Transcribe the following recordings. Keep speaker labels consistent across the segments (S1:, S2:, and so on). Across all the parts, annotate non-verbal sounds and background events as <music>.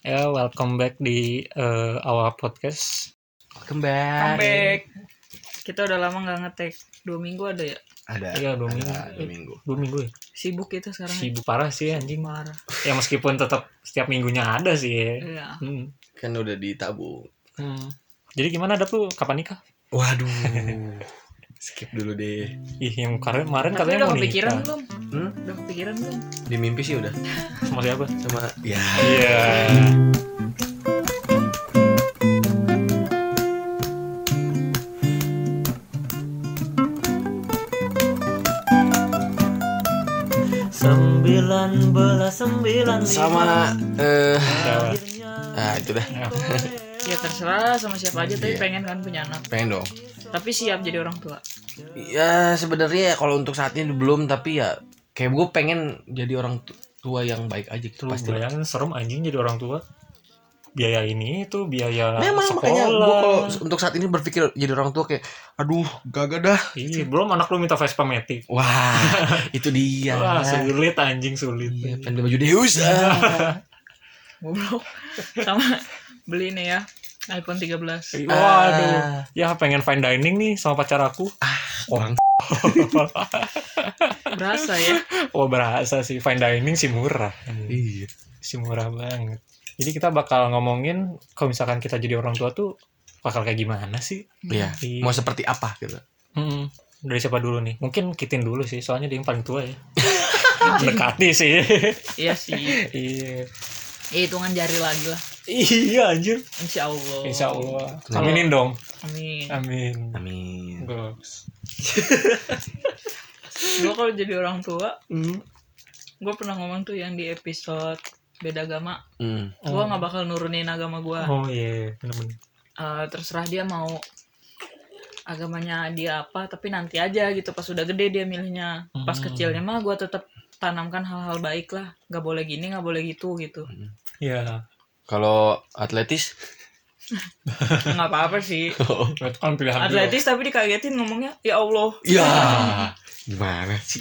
S1: Ya, welcome back di eh, awal podcast.
S2: Kembali.
S3: comeback kita udah lama nggak ngetek dua minggu ada ya
S2: Ada.
S1: Iya, dua minggu.
S2: ada dua minggu.
S1: Dua minggu ya?
S3: sibuk kita sekarang
S1: Sibuk parah sih anjing.
S3: marah
S1: Ya meskipun tetap setiap minggunya ada sih ya.
S3: ya
S1: Hmm.
S2: Kan udah ditabung.
S1: Hmm. Jadi gimana ada tuh kapan nikah?
S2: Waduh. <laughs> Skip dulu deh.
S1: Ih, yang kemarin kemarin
S3: tapi
S1: Kan katanya
S3: udah
S1: mau
S3: kepikiran
S1: nikah.
S3: belum
S2: Hmm?
S3: udah kepikiran belum
S2: Di mimpi sih udah.
S1: Sama siapa?
S2: Sama ya.
S1: Iya.
S4: Sembilan belas sembilan lima.
S2: Sama eh
S1: Siapa?
S4: Akhirnya
S2: ah itu dah.
S3: ya terserah sama siapa aja tapi
S2: Iya.
S3: pengen kan punya anak
S2: Pengen dong.
S3: tapi siap jadi orang
S1: <laughs>
S3: tua
S2: Ya sebenarnya ya kalau untuk saat ini belum tapi ya kayak gue pengen jadi orang tu- tua yang baik aja gitu
S1: Lu
S2: pasti.
S1: bayangin serem anjing jadi orang tua. Biaya ini itu biaya
S2: Memang
S1: sekolah.
S2: makanya gue kalau untuk saat ini berpikir jadi orang tua kayak aduh gagal dah.
S1: Iya, belum anak lu minta Vespa Matic.
S2: Wah, <laughs> itu dia.
S1: Wah, sulit anjing sulit.
S2: Ya. Iya, pengen beli baju Deusa.
S3: goblok sama beli ini ya iPhone
S1: <laughs>
S3: 13
S2: Ah.
S1: Waduh. Ya pengen fine dining nih sama pacar aku.
S2: Orang
S3: berasa ya
S1: Wah Oh, berasa sih fine dining sih murah.
S2: Iya.
S1: Sih murah banget. Jadi kita bakal ngomongin kalau misalkan kita jadi orang tua tuh bakal kayak gimana sih?
S2: Iya.
S1: Iya.
S2: Mau seperti apa gitu.
S1: Mm-mm. Dari siapa dulu nih? Mungkin Kitin dulu sih, soalnya dia yang paling tua <laughs> ya. Mendekati sih.
S3: iya sih
S1: iya.
S3: ya, hitungan jari lagi lah
S1: Iya anjir.
S3: insya Allah
S1: Insya Allah. Ah.
S2: Kenapa?
S1: Aminin dong.
S3: amin
S1: Oh. Amin.
S2: Amin.
S1: Goks.
S3: gue kalau jadi orang tua
S1: Mm.
S3: gue pernah ngomong tuh yang di episode beda agama
S2: Hmm.
S3: gue nggak bakal nurunin agama gue
S1: Oh iya, bener-bener.
S3: Eh, terserah dia mau agamanya dia apa tapi nanti aja gitu pas udah gede dia milihnya pas
S1: Hmm.
S3: kecilnya mah gue tetap tanamkan hal-hal baik lah nggak boleh gini nggak boleh gitu gitu
S1: Iya.
S2: Kalau atletis,
S3: nggak apa-apa sih
S1: <laughs>
S2: Oh.
S1: Itu kan pilihan dia.
S3: atletis tapi dikagetin ngomongnya ya allah
S2: <laughs> ya gimana sih?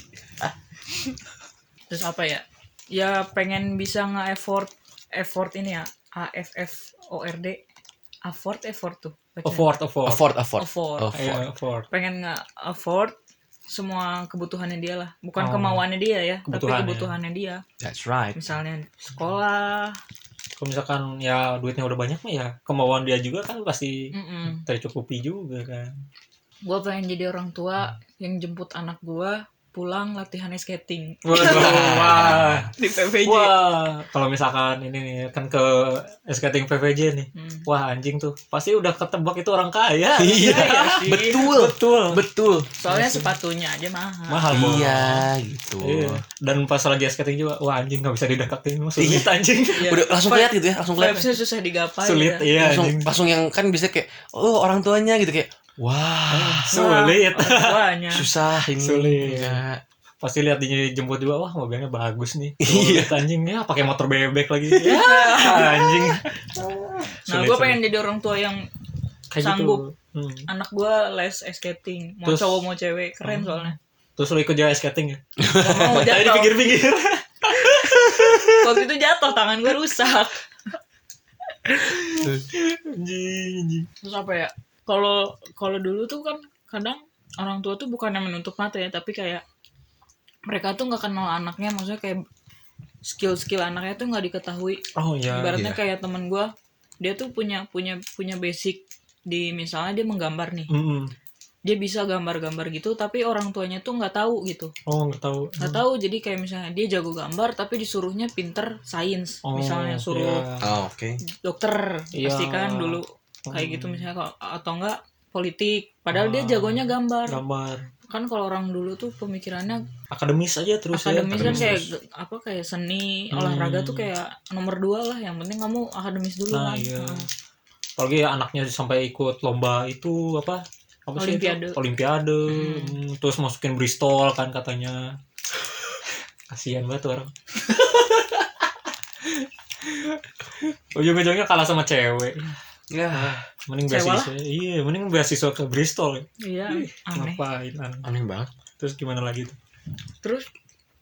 S3: terus apa ya ya pengen bisa nge-effort effort ini ya a f f o r d afford effort tuh bacanya.
S1: Afford, afford.
S2: Afford, afford.
S3: Afford.
S2: Afford.
S1: Iya, afford.
S3: pengen nge-afford semua kebutuhannya dia lah bukan
S1: Oh.
S3: kemauannya dia ya
S1: Kebutuhannya.
S3: tapi kebutuhannya dia
S2: That's right.
S3: misalnya sekolah
S1: kalau misalkan ya duitnya udah banyak mah ya kemauan dia juga kan pasti
S3: mm
S1: tercukupi juga kan
S3: gue pengen jadi orang tua yang jemput anak gue pulang latihan skating
S1: waduh wah
S3: <laughs> di PVJ
S1: wah kalau misalkan ini nih kan ke skating PVJ nih
S3: Mm.
S1: wah anjing tuh pasti udah ketebak itu orang kaya
S2: <laughs> Iya.
S3: sih.
S2: Betul.
S1: betul
S2: Betul.
S3: soalnya sepatunya aja mahal
S1: mahal Bang.
S2: Iya, gitu.
S1: Iya. dan pas lagi skating juga wah anjing nggak bisa dideketin sulit anjing
S3: Iya.
S2: Udah langsung
S3: Vibe-
S2: lihat gitu ya, langsung lihat.
S3: vibes-nya susah digapai
S1: sulit
S3: ya.
S1: iya
S2: Langsung,
S1: anjing
S2: langsung yang kan bisa kayak oh orang tuanya gitu kayak wah
S1: sulit
S3: Wah, orang
S1: <laughs>
S3: tuanya
S2: susah ini.
S1: Sulit.
S2: Iya.
S1: pasti lihat dijemput juga wah mobilnya bagus nih
S2: Iya.
S1: Sulit, anjing ya pakai motor bebek
S2: <laughs>
S1: lagi ya anjing
S3: nah
S1: Sulit,
S3: gue
S1: sulit.
S3: pengen jadi orang tua yang
S1: Kayak
S3: Sanggup.
S1: gitu. Hmm.
S3: anak gue les skating mau
S1: Terus- Hmm.
S3: cowok mau cewek keren
S1: <laughs>
S3: soalnya
S1: Terus lu ikut jalan skating ya?
S3: Gak mau
S1: Tadi
S3: jatuh
S1: dipikir-pikir.
S3: waktu itu jatuh tangan gue rusak
S1: <laughs> Anjing, anjing.
S3: terus apa ya kalau kalau dulu tuh kan kadang orang tua tuh bukannya menutup mata ya tapi kayak mereka tuh nggak kenal anaknya maksudnya kayak skill-skill anaknya tuh nggak diketahui
S1: Oh iya.
S3: ibaratnya
S2: iya.
S3: kayak temen gue dia tuh punya punya punya basic di misalnya dia menggambar nih
S1: Mm-mm.
S3: dia bisa gambar-gambar gitu tapi orang tuanya tuh nggak tahu gitu
S1: Oh nggak tahu.
S3: nggak tahu jadi kayak misalnya dia jago gambar tapi disuruhnya pinter sains
S1: Oh,
S3: misalnya suruh
S1: iya.
S2: Oh, oke.
S3: dokter
S1: Iya.
S3: pasti kan dulu kayak
S1: Hmm.
S3: gitu misalnya kalau atau enggak politik padahal dia
S1: Ah.
S3: jagonya gambar
S1: gambar
S3: kan kalau orang dulu tuh pemikirannya
S1: akademis aja terus
S3: akademis
S1: ya.
S3: kan kayak
S1: terus.
S3: apa kayak seni
S1: Hmm.
S3: olahraga tuh kayak nomor dua lah yang penting kamu akademis dulu
S1: Nah,
S3: kan
S1: iya.
S3: Nah,
S1: Apalagi ya anaknya sampai ikut lomba itu apa? Apa sih itu?
S3: Olimpiade.
S1: Olimpiade.
S3: Hmm.
S1: Hmm, Terus masukin Bristol kan katanya. <laughs> Kasihan banget tuh orang. <laughs> Ujung-ujungnya kalah sama cewek.
S2: Ya,
S1: Mending
S3: Sewa lah.
S1: beasiswa. Iya, mending beasiswa ke Bristol.
S3: iya aneh
S1: Ngapain aneh.
S2: aneh banget.
S1: Terus gimana lagi tuh? Hmm.
S3: terus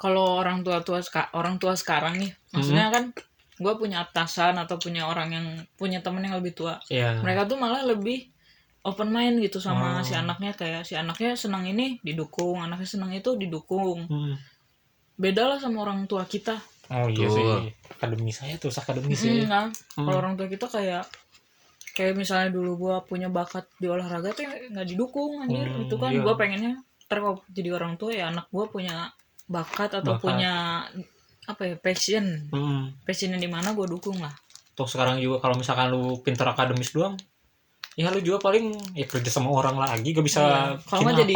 S3: kalau orang tua tua orang tua sekarang nih maksudnya kan gue punya atasan atau punya orang yang punya temen yang lebih tua
S1: Iya.
S3: mereka tuh malah lebih open mind gitu sama
S1: Oh.
S3: si anaknya kayak si anaknya senang ini didukung anaknya senang itu didukung
S1: Hmm.
S3: beda lah sama orang tua kita
S1: Oh iya sih.
S2: Betul.
S1: Akademis saya terus akademis ya.
S3: Hmm, kan?
S1: Hmm.
S3: kalau orang tua kita kayak kayak misalnya dulu gua punya bakat di olahraga tuh nggak didukung anjir
S1: Hmm,
S3: itu kan
S1: iya.
S3: gua pengennya ntar kalau jadi orang tua ya anak gua punya bakat atau
S1: Bakat.
S3: punya apa ya passion
S1: Hmm.
S3: passionnya di mana gua dukung lah
S1: Toh sekarang juga kalau misalkan lu pinter akademis doang, ya lu juga paling ya kerja sama orang lagi gak bisa
S3: Iya. kalau nggak jadi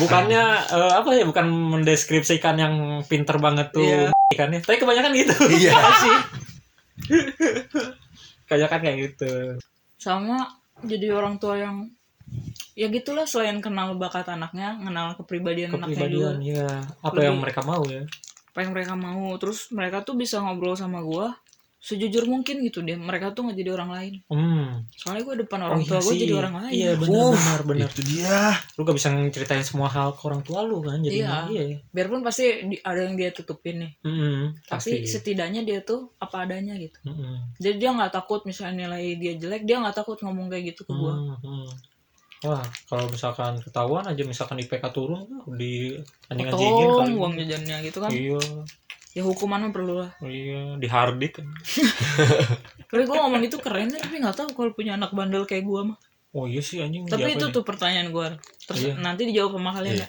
S1: bukannya eh, apa ya bukan mendeskripsikan yang pinter banget tuh
S3: Iya.
S1: ikannya tapi kebanyakan gitu
S2: <laughs> Iya sih.
S1: <laughs> kebanyakan kayak gitu
S3: sama jadi orang tua yang ya gitulah selain kenal bakat anaknya kenal kepribadian, anaknya
S1: kepribadian
S3: juga
S1: ya apa
S3: Lebih-
S1: yang mereka mau ya
S3: apa yang mereka mau terus mereka tuh bisa ngobrol sama gua sejujur mungkin gitu deh mereka tuh nggak jadi orang lain
S1: hmm.
S3: soalnya gue depan orang
S1: Oh, iya
S3: tua gue
S1: sih.
S3: jadi orang lain
S1: iya benar
S2: Uh,
S1: benar benar
S2: Itu dia.
S1: lu gak bisa ceritain semua hal ke orang tua lu kan jadi
S3: Iya.
S1: iya.
S3: biarpun pasti di- ada yang dia tutupin nih
S1: Mm-mm,
S3: tapi
S1: pasti
S3: setidaknya dia tuh apa adanya gitu
S1: Mm-mm.
S3: jadi dia nggak takut misalnya nilai dia jelek dia nggak takut ngomong kayak gitu ke gue
S1: Hmm, hmm. Wah, kalau misalkan ketahuan aja misalkan IPK turun uh, di anjing-anjingin
S3: potong
S1: kali.
S3: uang jajannya gitu kan
S1: Iya,
S3: ya hukuman mah perlu lah
S1: iya, di hardik.
S3: tapi gue ngomong itu keren deh, tapi nggak tahu kalau punya anak bandel kayak gue mah
S1: Oh iya sih anjing.
S3: tapi
S1: siapa
S3: itu
S1: ini?
S3: tuh pertanyaan gue terus
S1: Iya.
S3: nanti dijawab sama kalian
S2: Iya.
S3: ya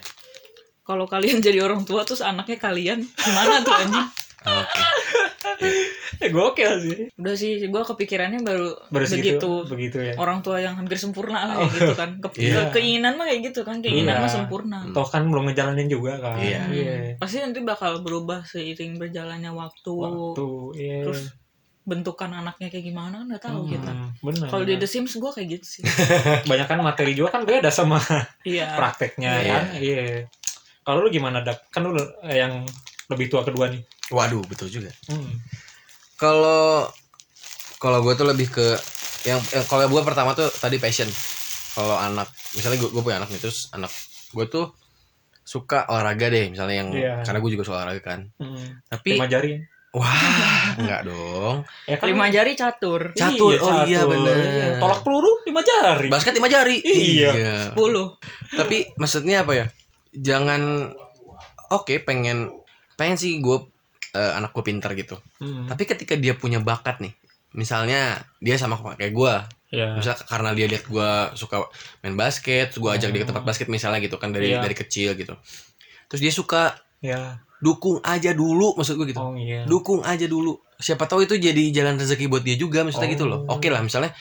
S3: kalau kalian <laughs> jadi orang tua terus anaknya kalian gimana tuh anjing
S2: Oke.
S1: eh, gokil sih.
S3: udah sih gue kepikirannya baru,
S1: Baru
S3: begitu
S1: segitu, begitu ya.
S3: orang tua yang hampir sempurna lah kayak gitu kan Ke-
S1: Iya.
S3: keinginan mah kayak gitu kan keinginan
S1: Iya.
S3: mah sempurna
S1: Toh kan belum ngejalanin juga kan.
S2: Iya.
S3: Hmm. pasti nanti bakal berubah seiring berjalannya waktu,
S1: Waktu, iya.
S3: terus bentukan anaknya kayak gimana kan nggak tahu
S1: Hmm,
S3: kita
S1: Benar.
S3: kalau di The Sims gue kayak gitu
S1: <laughs>
S3: sih
S1: banyak kan materi juga kan beda sama <laughs>
S3: iya
S1: prakteknya
S2: Iya.
S1: kan. Iya. Kalau lu gimana, Dak? Kan lu eh, yang lebih tua kedua nih.
S2: Waduh, betul juga.
S1: Hmm.
S2: Kalau kalau gue tuh lebih ke yang, yang- kalau gue pertama tuh tadi passion. Kalau anak, misalnya gue, gue punya anak nih terus anak gue tuh suka olahraga deh misalnya yang
S1: Iya.
S2: karena gue juga suka olahraga kan.
S1: Hmm.
S2: Tapi
S1: Lima jari.
S2: wah, enggak dong.
S1: Ya kan
S3: lima jari catur
S2: Catur. Oh, iya, bener.
S1: Iya. Tolak peluru lima jari.
S2: Basket lima jari.
S1: Iya.
S3: sepuluh
S2: tapi maksudnya apa ya jangan oke pengen pengen sih gue anak gue pinter gitu
S1: Hmm.
S2: tapi ketika dia punya bakat nih misalnya dia sama kayak gue
S1: Iya.
S2: misalnya karena dia lihat gue suka main basket gue ajak dia ke tempat basket misalnya gitu kan dari
S1: Hmm. Iya.
S2: dari kecil gitu terus dia suka
S1: Iya.
S2: dukung aja dulu maksud gue gitu
S1: Oh iya.
S2: dukung aja dulu siapa tahu itu jadi jalan rezeki buat dia juga
S1: Oh.
S2: misalnya gitu loh oke lah misalnya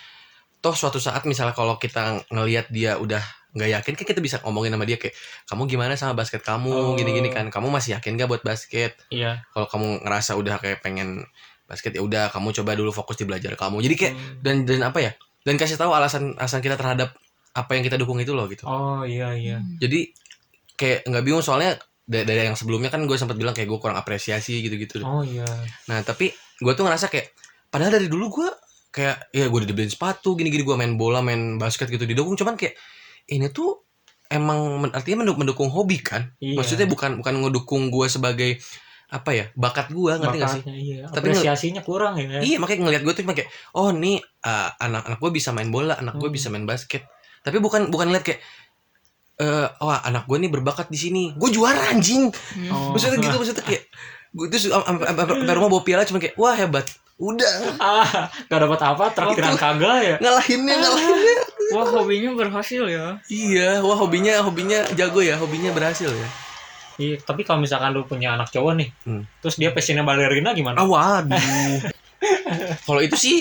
S2: toh suatu saat misalnya kalau kita ngelihat dia udah nggak yakin kan kita bisa ngomongin sama dia kayak kamu gimana sama basket
S1: Oh.
S2: kamu gini-gini kan kamu masih yakin gak buat basket
S1: Iya.
S2: kalau kamu ngerasa udah kayak pengen basket ya udah kamu coba dulu fokus di belajar kamu jadi kayak
S1: Hmm.
S2: dan dan apa ya dan kasih tahu alasan alasan kita terhadap apa yang kita dukung itu loh gitu
S1: Oh iya iya.
S2: jadi kayak nggak bingung soalnya da- dari yang sebelumnya kan gue sempat bilang kayak gue kurang apresiasi gitu-gitu
S1: Oh iya.
S2: Nah tapi gue tuh ngerasa kayak padahal dari dulu gue kayak ya gue udah dibeliin sepatu gini-gini gue main bola main basket gitu didukung cuman kayak ini tuh emang men- artinya menduk- mendukung hobi kan
S1: Iya.
S2: maksudnya bukan bukan ngedukung gue sebagai apa ya bakat gue ngerti gak sih
S1: Bakatnya, Iya.
S2: Tapi ngel-
S1: Apresiasinya kurang ya.
S2: iya makanya ngelihat gue tuh cuma kayak oh nih eh, anak-anak gue bisa main bola anak gue
S1: Hmm.
S2: bisa main basket tapi bukan bukan lihat kayak eh wah anak gue nih berbakat di sini gue juara anjing
S3: Hmm.
S1: Oh.
S2: maksudnya gitu maksudnya kayak gue terus am- am- am- am- sampai rumah bawa piala cuma kayak wah hebat udah
S1: <laughs> Ah, gak dapat apa
S2: Oh,
S1: traktiran kagak ya.
S2: ngalahinnya
S1: <laughs>
S2: ngalahinnya
S3: wah hobinya berhasil ya
S2: iya wah hobinya hobinya jago ya hobinya berhasil ya
S1: Iya, tapi kalau misalkan lu punya anak cowok nih,
S2: Hmm.
S1: terus dia passionnya balerina gimana? <laughs>
S2: ah waduh <laughs> kalau itu sih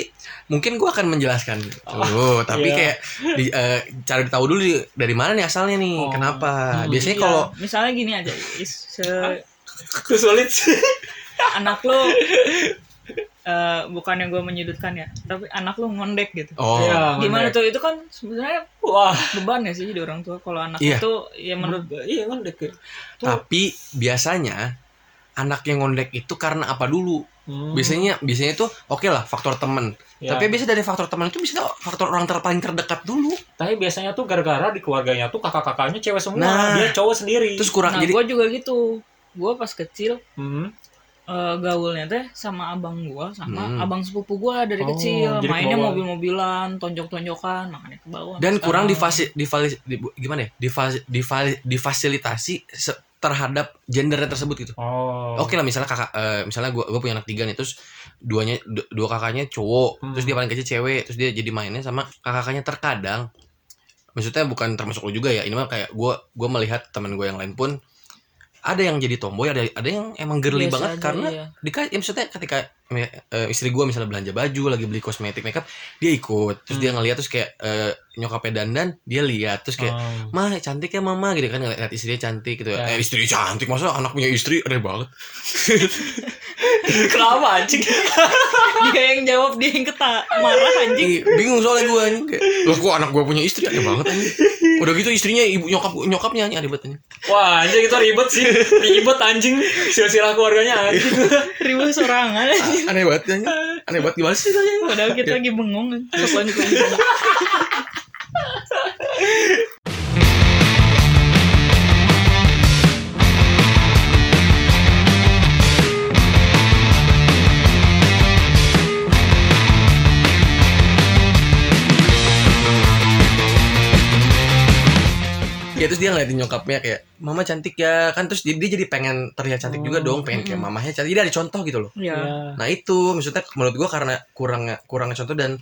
S2: mungkin gua akan menjelaskan oh tapi
S1: iya.
S2: kayak di, eh, cara ditahu dulu di- dari mana nih asalnya nih
S1: Oh.
S2: kenapa
S1: Hmm.
S2: biasanya
S3: Iya.
S2: kalau
S3: misalnya gini aja is-
S2: <laughs>
S3: se-
S1: Itu sulit sih.
S3: anak lo eh bukannya gue menyudutkan ya tapi anak lo ngondek gitu
S2: oh
S1: Iya,
S3: gimana
S1: ngondek.
S3: tuh itu kan sebenarnya
S1: Wah,
S3: beban ya sih jadi orang tua kalau anak
S2: Iya.
S3: itu ya menurut
S1: iya kan deket.
S2: tapi biasanya anaknya ngondek itu karena apa dulu
S1: Hmm,
S2: biasanya biasanya itu oke lah faktor teman tapi
S1: tapi
S2: biasa dari faktor teman itu bisa faktor orang ter paling terdekat dulu
S1: tapi biasanya tuh gara-gara di keluarganya tuh kakak-kakaknya cewek semua
S2: Nah.
S1: dia cowok sendiri
S2: terus kurang
S3: nah
S2: jadi
S3: gue juga gitu gue pas kecil
S1: Hmm.
S3: eh, gaulnya teh sama abang gua sama
S2: Hmm.
S3: abang sepupu gua dari
S1: Oh,
S3: kecil
S1: jadi
S3: mainnya
S1: kebawa.
S3: mobil-mobilan tonjok-tonjokan makanya ke bawah
S2: dan
S3: Sekarang
S2: kurang difasi difali di- gimana ya Difasi- difali- difasilitasi se- terhadap gendernya tersebut gitu
S1: oh
S2: Oke lah misalnya kakak eh, misalnya gua gua punya anak tiga nih terus duanya du- dua kakaknya cowok
S1: Hmm.
S2: terus dia paling kecil cewek terus dia jadi mainnya sama kakak-kakaknya terkadang maksudnya bukan termasuk lu juga ya ini mah kayak gua gua melihat teman gue yang lain pun ada yang jadi tomboy ada ada yang emang girly
S3: biasa
S2: banget
S3: aja,
S2: karena <laughs>
S3: iya.
S2: di ya maksudnya ketika me- eh, istri gua misalnya belanja baju lagi beli kosmetik makeup dia ikut terus
S1: Hmm.
S2: dia ngeliat terus kayak eh, nyokapnya dandan dia lihat terus kayak
S1: Oh.
S2: mah cantik ya mama gitu kan ngeliat istrinya cantik gitu
S1: Ya.
S2: eh istri cantik masa anak punya istri aneh banget
S1: kenapa anjing
S3: <laughs> dia yang jawab dia yang keta marah anjing
S2: Ih, bingung soalnya gue anjing kayak lah kok anak gue punya istri aneh banget anjing udah gitu istrinya ibu nyokap nyokapnya anjing aneh banget anjing
S1: wah anjing itu ribet sih ribet anjing silsilah keluarganya anjing <laughs>
S3: ribut sorangan anjing.
S2: Ah, aneh banget anjing aneh banget gimana sih anjing
S3: padahal kita lagi bengong kan. Sopan kebanyakan.
S2: ya terus dia ngeliatin nyokapnya kayak mama cantik ya kan terus dia, dia jadi pengen terlihat cantik juga dong pengen kayak mamahnya cantik dia ada contoh gitu loh
S3: ya
S1: ya.
S2: nah itu maksudnya menurut gue karena kurang kurang contoh dan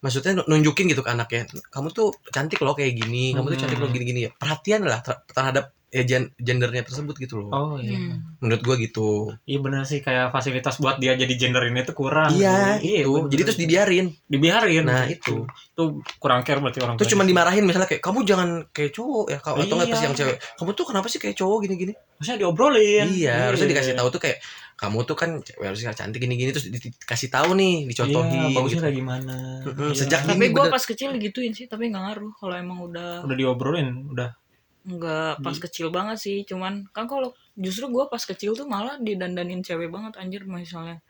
S2: maksudnya nu- nunjukin gitu ke anaknya kamu tuh cantik loh kayak gini kamu tuh cantik loh gini gini ya perhatian lah ter- terhadap ya, gen- gendernya tersebut gitu loh
S1: oh iya
S3: Hmm.
S2: menurut gue gitu
S1: Iya bener sih kayak fasilitas buat dia jadi gender ini tuh kurang.
S2: Iya,
S1: iya.
S2: itu.
S1: bener.
S2: Jadi terus dibiarin.
S1: dibiarin.
S2: Nah, itu.
S1: Tuh kurang care berarti orang
S2: Terus
S1: tuanya.
S2: cuma dimarahin misalnya kayak kamu jangan kayak cowok ya kalau atau nggak pas
S1: Iya.
S2: yang cewek. Kamu tuh kenapa sih kayak cowok gini-gini?
S1: harusnya diobrolin.
S2: Iya, harusnya dikasih tahu tuh kayak kamu tuh kan cewek harusnya cantik gini-gini terus di- di- dikasih tahu nih,
S1: Iya,
S2: dicontohin
S1: bagusnya
S2: gitu.
S1: kayak gimana.
S2: Mm-mm,
S1: Iya.
S2: sejak
S3: tapi
S2: dini
S3: gue
S2: bener.
S3: pas kecil gituin sih tapi nggak ngaruh kalau emang udah
S1: udah diobrolin, udah.
S3: nggak pas
S2: Hmm.
S3: kecil banget sih cuman kan kalau justru gue pas kecil tuh malah didandanin cewek banget anjir misalnya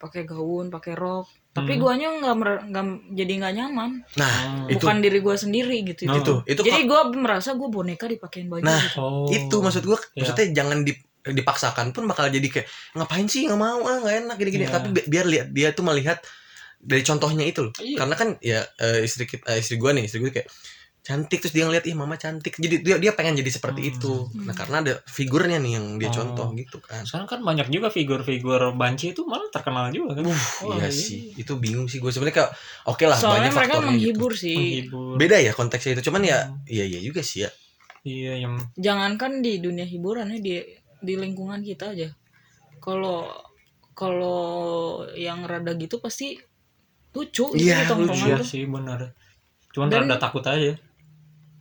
S3: pakai gaun pakai rok tapi
S1: Hmm.
S3: guanya nggak mer- nggak jadi nggak nyaman
S2: Nah, itu
S3: bukan diri gue sendiri gitu
S1: No.
S2: itu itu
S3: jadi gue merasa gue boneka dipakein baju
S2: Nah,
S3: gitu.
S1: Oh.
S2: itu maksud gua
S1: Iya.
S2: maksudnya jangan di- dipaksakan pun bakal jadi kayak ngapain sih nggak mau ah nggak enak gini-gini
S1: Iya.
S2: tapi bi- biar lihat dia tuh melihat dari contohnya itu loh
S1: Iya.
S2: karena kan ya eh, istri kita eh, istri gua nih istri gue kayak cantik terus dia ngeliat ih mama cantik jadi dia dia pengen jadi seperti
S1: Hmm.
S2: itu nah
S3: Hmm.
S2: karena ada figurnya nih yang dia
S1: Oh.
S2: contoh gitu kan
S1: Sekarang kan banyak juga figur-figur banci itu malah terkenal juga kan. Oh,
S2: iya, sih itu bingung sih gue sebenarnya kayak oke lah
S3: soalnya
S2: banyak
S3: mereka
S2: faktornya gitu.
S3: menghibur sih
S1: Menghibur. Hmm.
S2: beda ya konteksnya itu cuman ya iya iya juga sih ya
S1: Iya, yang
S3: jangankan di dunia hiburan ya, di di lingkungan kita aja kalau kalau yang rada gitu pasti lucu gitu
S2: Iya,
S3: di tongkrongan
S1: iya
S3: tuh.
S1: sih benar. Cuman
S3: Dan-
S1: rada takut aja.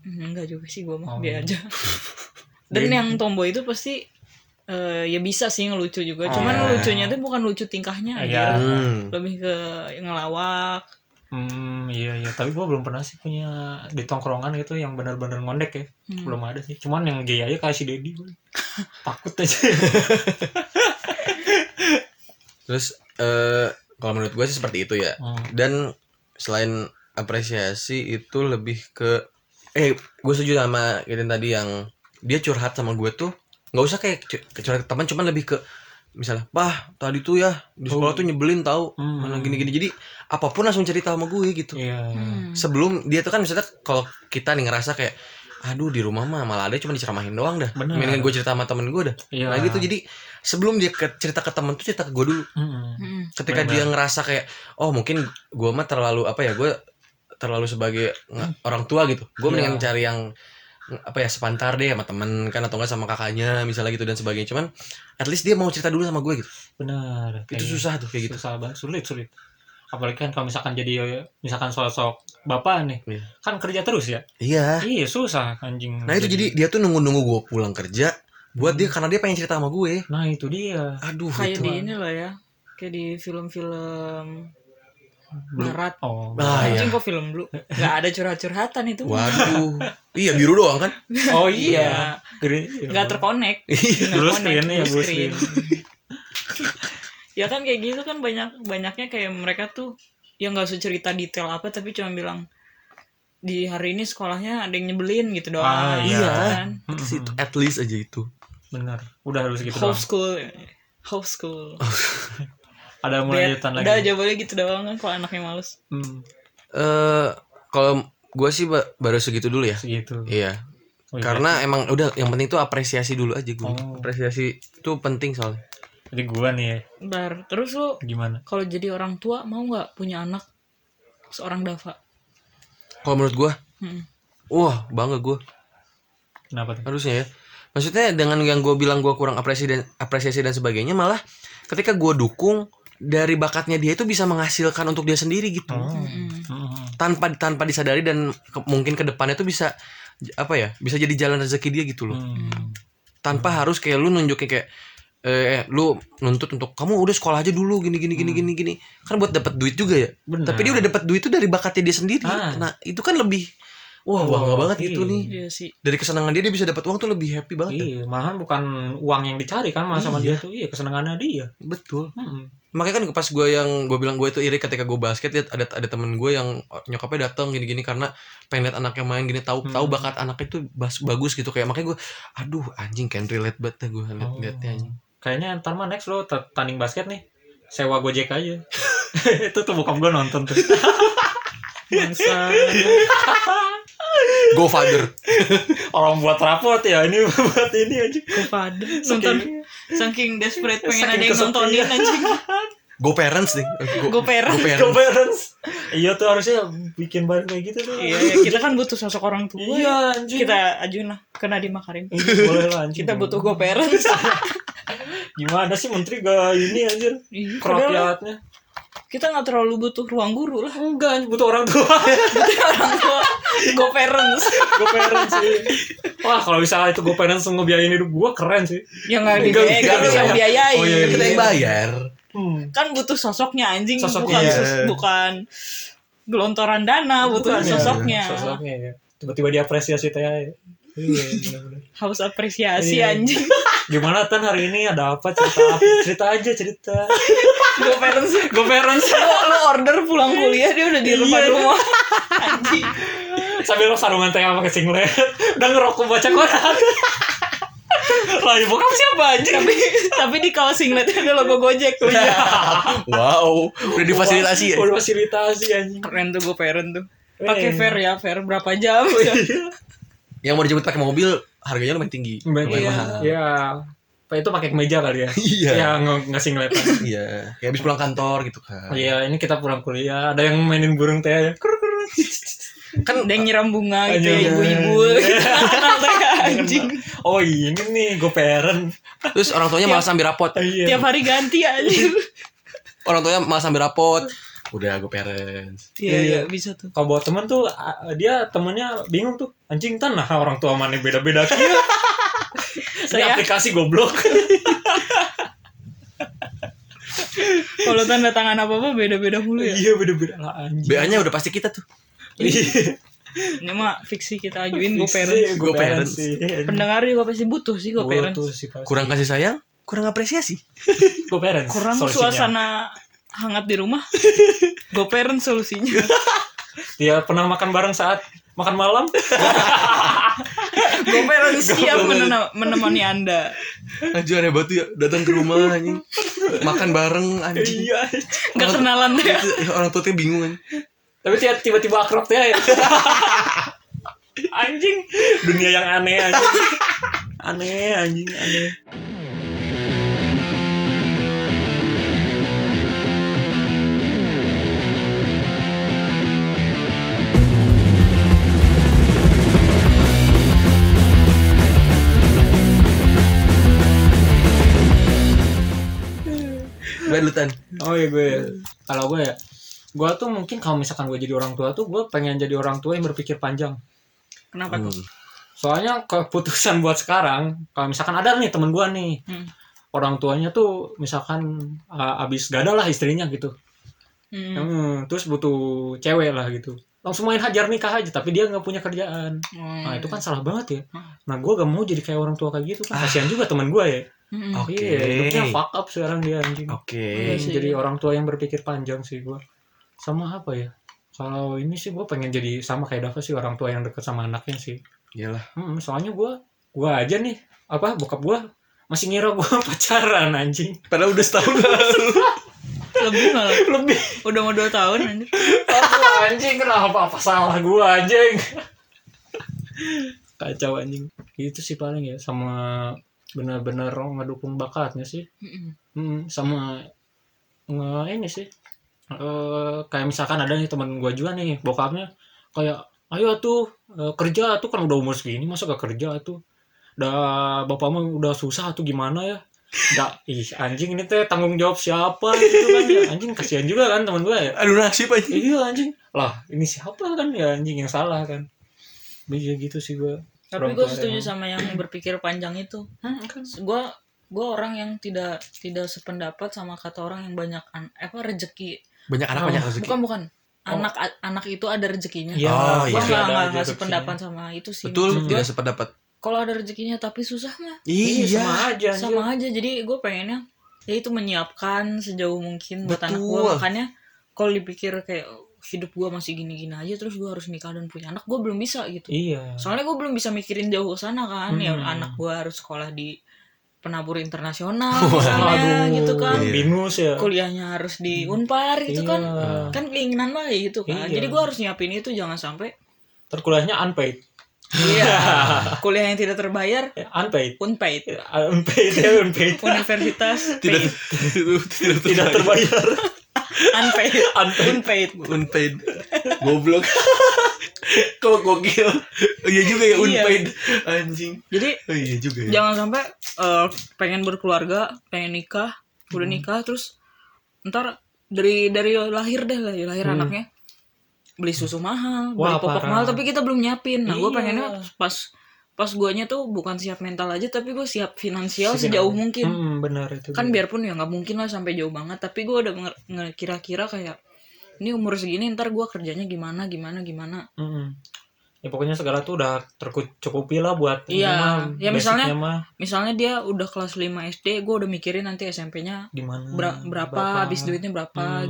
S3: Hmm, enggak juga sih gue mah
S1: Oh.
S3: biar aja dan yang tomboy itu pasti eh, ya bisa sih ngelucu juga cuman
S1: Oh.
S3: lucunya tuh bukan lucu tingkahnya
S1: Iya.
S3: aja
S2: hmm.
S3: lebih ke ngelawak
S1: Hmm, iya iya, tapi gua belum pernah sih punya di tongkrongan gitu yang benar-benar ngondek ya.
S3: Hmm.
S1: Belum ada sih. Cuman yang gay aja kayak si Dedi
S3: <laughs>
S1: gua. Takut aja.
S2: terus eh kalau menurut gue sih seperti itu ya
S1: Hmm.
S2: dan selain apresiasi itu lebih ke eh gue setuju sama Gideon tadi yang dia curhat sama gue tuh nggak usah kayak cu- curhat ke teman cuman lebih ke misalnya pah tadi tuh ya di sekolah tuh nyebelin tahu
S1: Hmm.
S2: mana gini-gini jadi apapun langsung cerita sama gue gitu
S1: Iya.
S3: Hmm.
S2: sebelum dia tuh kan misalnya kalau kita nih ngerasa kayak aduh di rumah mah malah ada cuma diceramahin doang dah
S1: Bener.
S2: mendingan gue cerita sama temen gue dah
S1: Iya.
S2: nah gitu jadi sebelum dia ke, cerita ke temen tuh cerita ke gue dulu
S1: Hmm.
S3: Hmm.
S2: ketika
S1: Benar.
S2: dia ngerasa kayak oh mungkin gue mah terlalu apa ya gue terlalu sebagai nge- orang tua gitu gue
S1: Hmm. Iya.
S2: mendingan cari yang nge- apa ya sepantar deh sama temen kan atau enggak sama kakaknya misalnya gitu dan sebagainya cuman at least dia mau cerita dulu sama gue gitu
S1: Benar.
S2: itu
S1: Kayak
S2: susah tuh kayak gitu
S1: Iya. Susah banget, sulit sulit. Apalagi kan kalau misalkan jadi misalkan sosok bapak nih,
S2: Iya.
S1: kan kerja terus ya.
S3: Ah.
S2: iya
S1: Iya susah anjing.
S2: nah itu jadi dia tuh nunggu nunggu gue pulang kerja
S1: Iya.
S2: buat
S1: Hmm.
S2: dia karena dia pengen cerita sama gue
S1: Nah itu dia.
S2: aduh gitu.
S3: kayak
S2: itu
S3: di ini loh ya kayak di film-film
S2: Belum.
S3: barat
S1: Oh,
S2: Ah, iya.
S3: Anjing kok film dulu Gak ada curhat-curhatan itu
S2: Waduh. iya biru doang kan?
S1: oh iya.
S3: Iya
S1: Green.
S3: <laughs> Gak terkonek
S2: Iya.
S3: Nggak
S1: Blue
S3: connect,
S1: screen, iya,
S3: blue
S1: blue
S3: screen. <laughs> ya kan kayak gitu kan banyak banyaknya kayak mereka tuh yang nggak usah cerita detail apa tapi cuma bilang di hari ini sekolahnya ada yang nyebelin gitu doang.
S1: Ah, iya.
S3: kan?
S1: Mm-mm.
S2: Terus itu, at least aja gitu. itu.
S1: Bener. hmm. Udah harus gitu doang.
S3: Homeschool. Homeschool.
S1: Ada
S3: Biar-
S1: mulai lanjutan lagi.
S3: Udah jawabannya gitu doang kan kalau anaknya males.
S1: Hmm,
S2: Eh kalau gua sih ba- baru segitu dulu ya.
S1: segitu.
S2: Iya.
S1: Oh, iya.
S2: Karena emang udah yang penting tuh apresiasi dulu aja gue.
S1: Oh.
S2: Apresiasi itu penting soalnya.
S1: Jadi gua nih ya,
S3: Bentar. Terus lu
S1: gimana?
S3: kalau jadi orang tua mau nggak punya anak seorang Dava?
S2: Kalau menurut gua,
S3: Hmm.
S2: wah bangga gua
S1: Kenapa tuh?
S2: harusnya ya. Maksudnya dengan yang gue bilang gua kurang apresiasi dan apresiasi dan sebagainya malah ketika gua dukung dari bakatnya dia itu bisa menghasilkan untuk dia sendiri gitu.
S1: Oh.
S3: Hmm.
S1: Mm-mm.
S2: Tanpa tanpa disadari dan ke- mungkin ke depannya tuh bisa j- apa ya? Bisa jadi jalan rezeki dia gitu loh.
S1: Hmm.
S2: Tanpa harus kayak lu nunjukin kayak eh, eh, lu nuntut untuk kamu udah sekolah aja dulu gini gini
S1: Hmm.
S2: gini gini gini. Kan buat dapat duit juga ya.
S1: Benar.
S2: Tapi dia udah dapat duit itu dari bakatnya dia sendiri.
S1: Nah. Ah.
S2: Nah, itu kan lebih wah
S1: Oh,
S2: bangga banget
S1: iya.
S2: gitu nih.
S3: Iya sih.
S2: Dari kesenangan dia dia bisa dapat uang tuh lebih happy banget.
S1: Iya, malahan bukan uang yang dicari kan malah sama dia tuh. Iya, kesenangannya dia. Hmm.
S2: Betul.
S1: Mm-mm.
S2: makanya kan pas gue yang gue bilang gue itu iri ketika gue basket liat ada ada temen gue yang oh, nyokapnya datang gini-gini karena pengen liat anaknya main gini tahu
S1: Hmm.
S2: tahu bakat anaknya itu bas- bagus gitu kayak makanya gue aduh anjing can relate banget dah gue liat
S1: Oh.
S2: liatnya anjing
S1: Kayaknya ntar mah next lo t- tanding basket nih. Sewa Gojek aja. <laughs> itu tuh bukan gua nonton tuh.
S3: Bangsa.
S2: go father
S1: Orang buat raport ya ini buat ini aja.
S3: Kepada nonton saking desperate pengen
S1: Saking
S3: ada yang
S1: kesepian.
S3: nontonin anjing.
S2: go parents nih Eh,
S3: Go parents.
S1: Go parents. Iya tuh harusnya bikin bareng kayak gitu tuh.
S3: <laughs> Iya, ya, kita kan butuh sosok orang tua.
S1: Iya, anjing.
S3: Kita ajuin lah ke Nadiem Makarim.
S1: Boleh lah Iya, anjing.
S3: Kita butuh go parents. <laughs>
S1: Gimana sih menteri gak ini anjir?
S3: Iya, padahal
S1: Kerakyatnya.
S3: kita nggak terlalu butuh ruang guru lah.
S1: Enggak, anjing, butuh orang tua. <laughs>
S3: Butuh orang tua go parents.
S1: Go parents sih. Wah, kalau misalnya itu go parents ngebiayain hidup gua keren sih.
S3: Yang Ya nggak
S1: Enggak,
S3: dibiayain,
S2: enggak,
S3: nggak bisa
S2: enggak.
S3: biayain.
S1: Oh, iya,
S3: <laughs>
S2: kita yang bayar <laughs>
S1: Hmm.
S3: Kan butuh sosoknya anjing,
S1: Sosoknya,
S3: bukan
S1: iya.
S3: sos- bukan gelontoran dana, butuh
S1: Bukan, ya.
S3: sosoknya.
S1: Sosoknya ya. Tiba-tiba diapresiasi teh. Iya, benar-benar.
S3: Haus apresiasi
S1: Iya.
S3: anjing. <laughs>
S1: Gimana Tan hari ini ada apa cerita apa? cerita aja cerita.
S3: Go parents.
S1: Go parents
S3: Lu, lu order pulang kuliah dia udah di depan
S1: Iya.
S3: rumah. Anjing.
S1: sambil lo sarungan teh sama singlet udah ngerokok baca koran. <laughs> Lah ya ibu kamu siapa anjing?
S3: tapi tapi di kaos singletnya ada logo Gojek. iya.
S2: wow udah difasilitasi ya
S1: Udah fasilitasi anjing.
S3: <laughs> Keren tuh go parent tuh.
S1: Eh.
S3: Pakai fair ya, fair berapa jam? <laughs>
S2: yang mau dijemput pakai mobil harganya lumayan tinggi lumayan
S1: Iya.
S2: mahal
S1: Iya. Apa itu pakai kemeja kali ya?
S2: <laughs> Iya.
S1: Ya nge- ngasih ngeliatan.
S2: iya kayak habis pulang kantor gitu kan
S1: Iya, ini kita pulang kuliah, ada yang mainin burung teh. Kruk, kruk.
S2: <laughs>
S3: kan ada yang nyiram bunga gitu
S1: Anjing.
S3: ya <laughs> ibu-ibu kenal teh anjing
S1: Oh ini nih, gue parent.
S2: terus orang tuanya malas ambil rapot
S1: Iya.
S3: tiap hari ganti anjir
S2: orang tuanya malas ambil rapot udah go parents
S1: iya.
S3: iya iya bisa tuh
S1: Kalau bawa teman tuh, a- dia temennya bingung tuh. Anjing tanah orang tua mana beda-beda. <laughs> Ini
S3: saya Iya.
S1: aplikasi goblok.
S3: <laughs> kalau tanda tangan apa apa beda-beda mulu ya
S1: Iya beda-beda lah anjing.
S2: BA nya udah pasti kita tuh
S3: ini mah fiksi kita ajuin go
S1: Fiksi,
S3: parents
S1: Go
S2: Go
S1: parents
S2: parents.
S1: sih.
S3: pendengar juga pasti butuh sih go
S1: Gue
S3: parents
S1: tuh sih pasti.
S2: kurang kasih sayang kurang apresiasi
S1: Go parents.
S3: kurang
S1: solusinya.
S3: suasana hangat di <laughs> rumah go parents solusinya
S1: Dia pernah makan bareng saat makan malam.
S2: <laughs>
S3: go parents siap menena- menemani anda
S2: Anjir aneh banget tuh ya datang ke rumah anjing. Makan bareng anjing.
S1: iya.
S3: nggak kenalan ya. teh
S2: Itu Orang tuanya bingung anjing.
S1: Tapi tiba- tiba-tiba akrab ya. teh. <laughs> anjing. Dunia yang aneh anjing. Aneh anjing aneh.
S2: Udah lu Tan.
S1: Oh iya gue ya. Kalau gue ya, gue tuh mungkin kalau misalkan gue jadi orang tua tuh gue pengen jadi orang tua yang berpikir panjang.
S3: kenapa tuh
S2: Hmm.
S1: Soalnya keputusan buat sekarang, kalau misalkan ada nih temen gue nih, ah,
S3: Hmm.
S1: orang tuanya tuh misalkan uh, abis gak ada lah istrinya gitu.
S3: Hmm.
S1: Hmm, terus butuh cewek lah gitu langsung main hajar nikah aja tapi dia nggak punya kerjaan
S3: oh,
S1: nah
S3: Ah, iya,
S1: itu kan salah banget ya nah gue gak mau jadi kayak orang tua kayak gitu kan kasihan juga teman gue ya
S3: Hmm.
S2: Oke.
S1: iya hidupnya fuck up sekarang dia anjing
S2: Oke.
S3: Iya
S1: Pengen
S3: sih.
S1: jadi orang tua yang berpikir panjang sih gue sama apa ya kalau ini sih gue pengen jadi sama kayak Dava sih orang tua yang dekat sama anaknya sih
S2: Iyalah.
S1: Mm, soalnya gue gue aja nih apa bokap gue masih ngira gue <laughs> pacaran anjing
S2: Padahal udah setahun <laughs> lalu.
S3: Lebih malah.
S1: lebih
S3: Udah mau 2 tahun anjir.
S1: Aduh, anjing kenapa apa salah gue anjing kacau anjing itu sih paling ya sama benar-benar ngedukung bakatnya sih
S3: Mm-mm.
S1: Hmm, sama nge- ini sih. Eh, kayak misalkan ada nih teman gua juga nih, bokapnya kayak ayo tuh eh, kerja tuh kan udah umur segini masa gak kerja tuh. Udah bapak mah udah susah tuh gimana ya? Nggak, ih anjing ini teh tanggung jawab siapa gitu kan ya. Anjing kasihan juga kan teman gua ya.
S2: Aduh nasib aja.
S1: Iya anjing. Lah, ini siapa kan ya anjing yang salah kan. Bisa gitu sih gua.
S3: Tapi
S1: Orang
S3: gue
S1: tua
S3: setuju
S1: yang-
S3: sama Kan? yang berpikir panjang itu. Gue gue orang yang tidak tidak sependapat sama kata orang yang banyak an- apa rezeki.
S2: Banyak anak
S1: Oh,
S2: banyak rezeki.
S3: Bukan bukan.
S1: Oh.
S3: Anak a- anak itu ada rezekinya.
S1: Iya,
S2: Oh, iya.
S3: Gue
S1: pasti ada
S3: nggak
S1: aja
S3: nggak nggak
S1: opsinya.
S3: sependatul sama itu sih.
S2: Betul,
S1: Hmm.
S2: tidak sependapat.
S3: Kalau ada rezekinya tapi susah mah
S1: Iya, sama aja. anjing.
S3: sama aja. Jadi gue pengennya ya itu menyiapkan sejauh mungkin buat anak gue.
S2: Betul.
S3: Makanya kalau dipikir kayak "Oh, hidup gue masih gini-gini aja terus gue harus nikah dan punya anak gue belum bisa gitu.
S1: Iya.
S3: soalnya gue belum bisa mikirin jauh ke sana kan ya
S1: Hmm.
S3: anak gue harus sekolah di penabur internasional
S2: Waduh.
S3: misalnya gitu kan
S2: Iya.
S1: Binus ya.
S3: kuliahnya harus di unpar gitu kan
S1: Iya.
S3: kan keinginan mah kayak gitu kan
S1: Iya.
S3: jadi gue harus nyiapin itu jangan sampai
S1: terkuliahnya unpaid
S3: iya kuliah yang tidak terbayar
S1: Eh, unpaid <laughs>
S3: unpaid
S1: Eh, unpaid ya unpaid
S3: universitas
S2: Tidak
S3: paid.
S2: tidak
S1: tidak terbayar
S3: unpaid unpaid
S2: unpaid. Goblok. Kok gokil. Oh, Iya juga ya
S3: Iya.
S2: unpaid. Anjing.
S3: jadi
S2: Oh, iya juga ya.
S3: jangan sampai eh, pengen berkeluarga pengen nikah
S1: Hmm.
S3: udah nikah terus ntar dari dari lahir deh lah ya, lahir
S1: Hmm.
S3: anaknya beli susu mahal beli
S1: Wah,
S3: popok
S1: parah.
S3: mahal tapi kita belum nyiapin nah gue
S1: Iya.
S3: pengennya pas pas guanya tuh bukan siap mental aja tapi gue siap finansial
S1: Segenap.
S3: sejauh mungkin
S1: hmm, benar itu
S3: kan biarpun ya nggak mungkin lah sampai jauh banget tapi gue udah nge- nge- kira-kira kayak ini umur segini ntar gue kerjanya gimana gimana gimana
S1: Mm-mm. ya pokoknya segala tuh udah tercukupi lah buat ini
S3: Iya.
S1: mah, basicnya
S3: Ya, misalnya
S1: mah
S3: misalnya dia udah kelas 5 SD gue udah mikirin nanti SMP-nya
S1: gimana
S3: berapa, habis duitnya berapa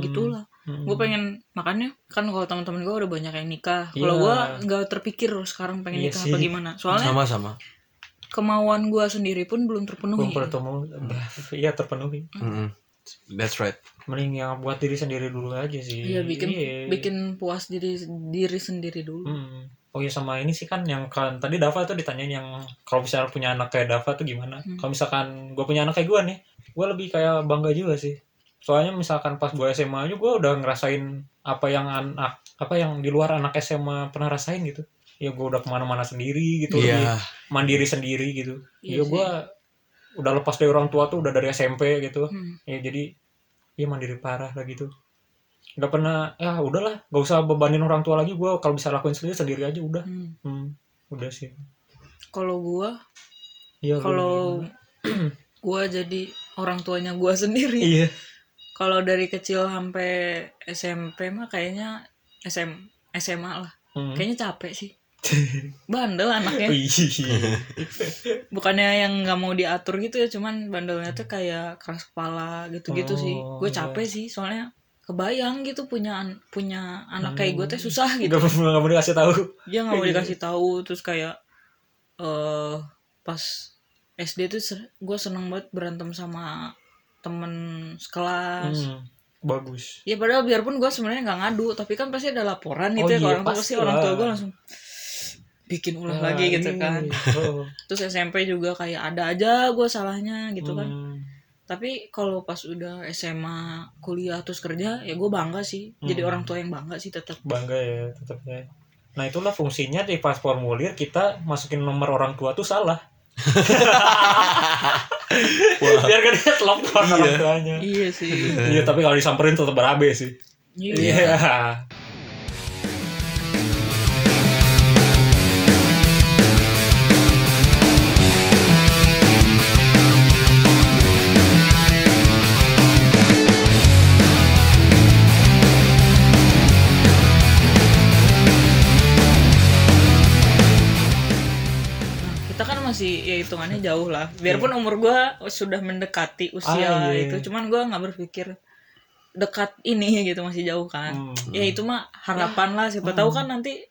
S1: Hmm.
S3: gitu lah
S1: Mm-mm.
S3: gue pengen makanya kan kalau teman-teman gue udah banyak yang nikah
S1: Iya.
S3: kalau gue nggak terpikir loh sekarang pengen
S1: Iya
S3: nikah
S1: sih.
S3: apa gimana soalnya
S2: Sama-sama.
S3: kemauan gue sendiri pun belum terpenuhi
S1: belum bertemu iya terpenuhi
S2: Mm-mm. That's right.
S1: mending yang buat diri sendiri dulu aja sih
S3: iya bikin
S1: Iya.
S3: bikin puas diri diri sendiri dulu
S1: Mm. Oh iya sama ini sih kan yang kan tadi Dava tuh ditanyain yang kalau misalnya punya anak kayak Dava tuh gimana?
S3: Hmm.
S1: Kalau misalkan gue punya anak kayak gue nih, gue lebih kayak bangga juga sih. Soalnya misalkan pas gue SMA aja gue udah ngerasain apa yang anak apa yang di luar anak SMA pernah rasain gitu. Ya gue udah kemana-mana sendiri gitu, lebih
S2: Iya.
S1: mandiri sendiri gitu. Ya
S3: Iya sih.
S1: gue udah lepas dari orang tua tuh udah dari SMP gitu
S3: Hmm.
S1: ya jadi ya mandiri parah lah gitu nggak pernah ya udahlah nggak usah bebanin orang tua lagi gue kalau bisa lakuin sendiri sendiri aja udah
S3: Hmm.
S1: hmm, udah sih
S3: kalau gue
S1: Iya, gua
S3: <laughs> kalau
S1: gimana? <clears throat>
S3: gue jadi orang tuanya gue sendiri
S1: iya
S3: kalau dari kecil sampai SMP mah kayaknya SM SMA lah
S1: Hmm.
S3: kayaknya gitu. capek
S1: <laughs>
S3: sih bandel anaknya
S1: Wih.
S3: bukannya yang nggak mau diatur gitu ya cuman bandelnya tuh kayak keras kepala gitu-gitu sih
S1: Oh,
S3: gue
S1: iya.
S3: capek sih soalnya kebayang gitu punya an- punya anak kayak gue teh
S1: Hmm.
S3: susah gitu
S1: <laughs> nggak perlu nggak boleh kasih tahu
S3: dia nggak mau
S1: Iya.
S3: dikasih tahu terus kayak eh pas SD tuh gue seneng banget berantem sama temen sekelas
S1: Hmm, bagus
S3: ya padahal biarpun gue sebenarnya nggak ngadu tapi kan pasti ada laporan
S1: Oh
S3: gitu ya ke
S1: iya,
S3: orang tua pasti
S1: pastilah.
S3: orang tua gue langsung bikin ulah
S1: Nah,
S3: lagi gitu
S1: ini.
S3: kan
S1: <laughs> Oh.
S3: terus SMP juga kayak ada aja gue salahnya <laughs> gitu kan
S1: Hmm.
S3: tapi kalau pas udah SMA kuliah terus kerja ya gue bangga sih jadi
S1: Hmm.
S3: orang tua yang bangga sih tetap
S1: bangga ya tetapnya nah itulah fungsinya di pas formulir kita masukin nomor orang tua tuh salah <laughs> biar gak dia telepon orang tuanya
S3: iya sih
S1: Iya, tapi kalau disamperin tetap berabe sih.
S3: iya
S1: Iya.
S3: masih ya hitungannya jauh lah biarpun umur gua sudah mendekati usia
S1: Iya. Ah, iya.
S3: itu cuman gua nggak berpikir dekat ini gitu masih jauh kan
S1: Hmm.
S3: ya itu mah harapan lah siapa tahu kan nanti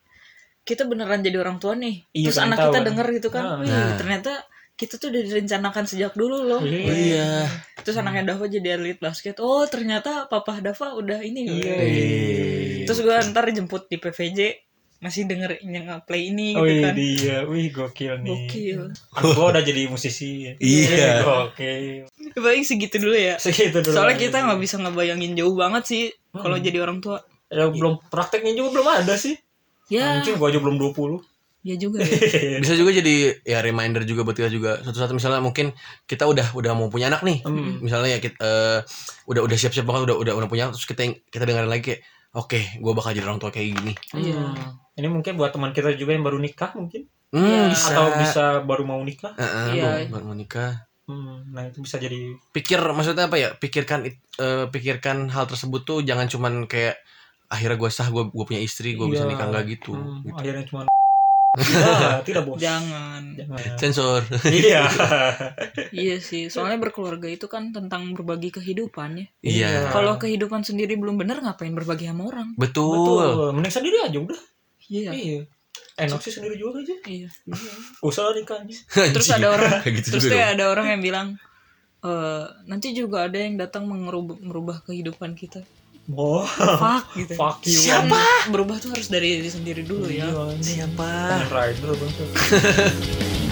S3: kita beneran jadi orang tua nih
S1: Iya,
S3: terus
S1: kan,
S3: anak
S1: tahu
S3: kita
S1: kan.
S3: denger gitu kan
S1: Ah.
S3: wih
S2: Nah.
S3: ternyata kita tuh udah direncanakan sejak dulu loh
S1: Iya.
S2: Iya.
S3: terus anaknya Dava jadi elit basket oh ternyata papa Dava udah ini gitu.
S1: Iya.
S2: Iya.
S3: terus gua ntar jemput di PVJ masih denger yang play ini gitu
S1: Wih
S3: kan
S1: dia, wih gokil nih.
S3: gokil
S1: Anak gua udah jadi musisi.
S2: Iya.
S1: Gokil.
S3: paling segitu dulu ya
S1: Segitu dulu. iya.
S3: soalnya kita nggak bisa ngebayangin jauh banget sih kalau jadi orang tua
S1: Ya, belum prakteknya juga belum ada sih.
S3: ya
S1: Anjing gua aja belum
S3: <laughs>
S1: 20.
S3: ya juga ya
S2: Bisa juga jadi ya reminder juga buat kita juga satu-satu misalnya mungkin kita udah udah mau punya anak nih.
S1: Hmm.
S2: Misalnya ya kita eh, udah udah siap-siap banget udah udah udah punya terus kita kita dengerin lagi kayak oke, gua bakal jadi orang tua kayak gini.
S3: Iya.
S1: Hmm. Ini mungkin buat teman kita juga yang baru nikah mungkin
S2: Hmm,
S3: Iya.
S2: bisa.
S1: atau bisa baru mau nikah.
S2: Heeh,
S3: Iya.
S2: buat- buat mau nikah.
S1: Hmm, nah itu bisa jadi
S2: pikir maksudnya apa ya pikirkan it- eh, pikirkan hal tersebut tuh jangan cuman kayak akhirnya gue sah gue gue punya istri gue bisa
S1: Iya.
S2: nikah enggak gitu,
S1: hmm,
S2: gitu.
S1: akhirnya cuma tidak, tidak bos.
S3: jangan
S1: Jangan.
S2: sensor
S1: iya.
S3: iya sih soalnya berkeluarga itu kan tentang berbagi kehidupan ya
S2: iya
S3: kalau kehidupan sendiri belum bener ngapain berbagi sama orang
S2: betul,
S1: Betul. Mending sendiri aja udah.
S3: iya
S1: Iya. Enak sih sendiri juga aja.
S3: iya
S1: Usah nikah <laughs> aja.
S3: terus ada orang
S2: <laughs> Kayak gitu
S3: terus
S2: juga
S3: kayak ada orang yang bilang "Eh, nanti juga ada yang datang mengerubah merubah kehidupan kita
S1: Wah.
S3: fuck gitu
S1: Fuck you. <laughs>
S3: siapa berubah tuh harus dari diri sendiri dulu ya
S1: Iya, anjing.
S2: siapa
S1: Kamen Rider bang.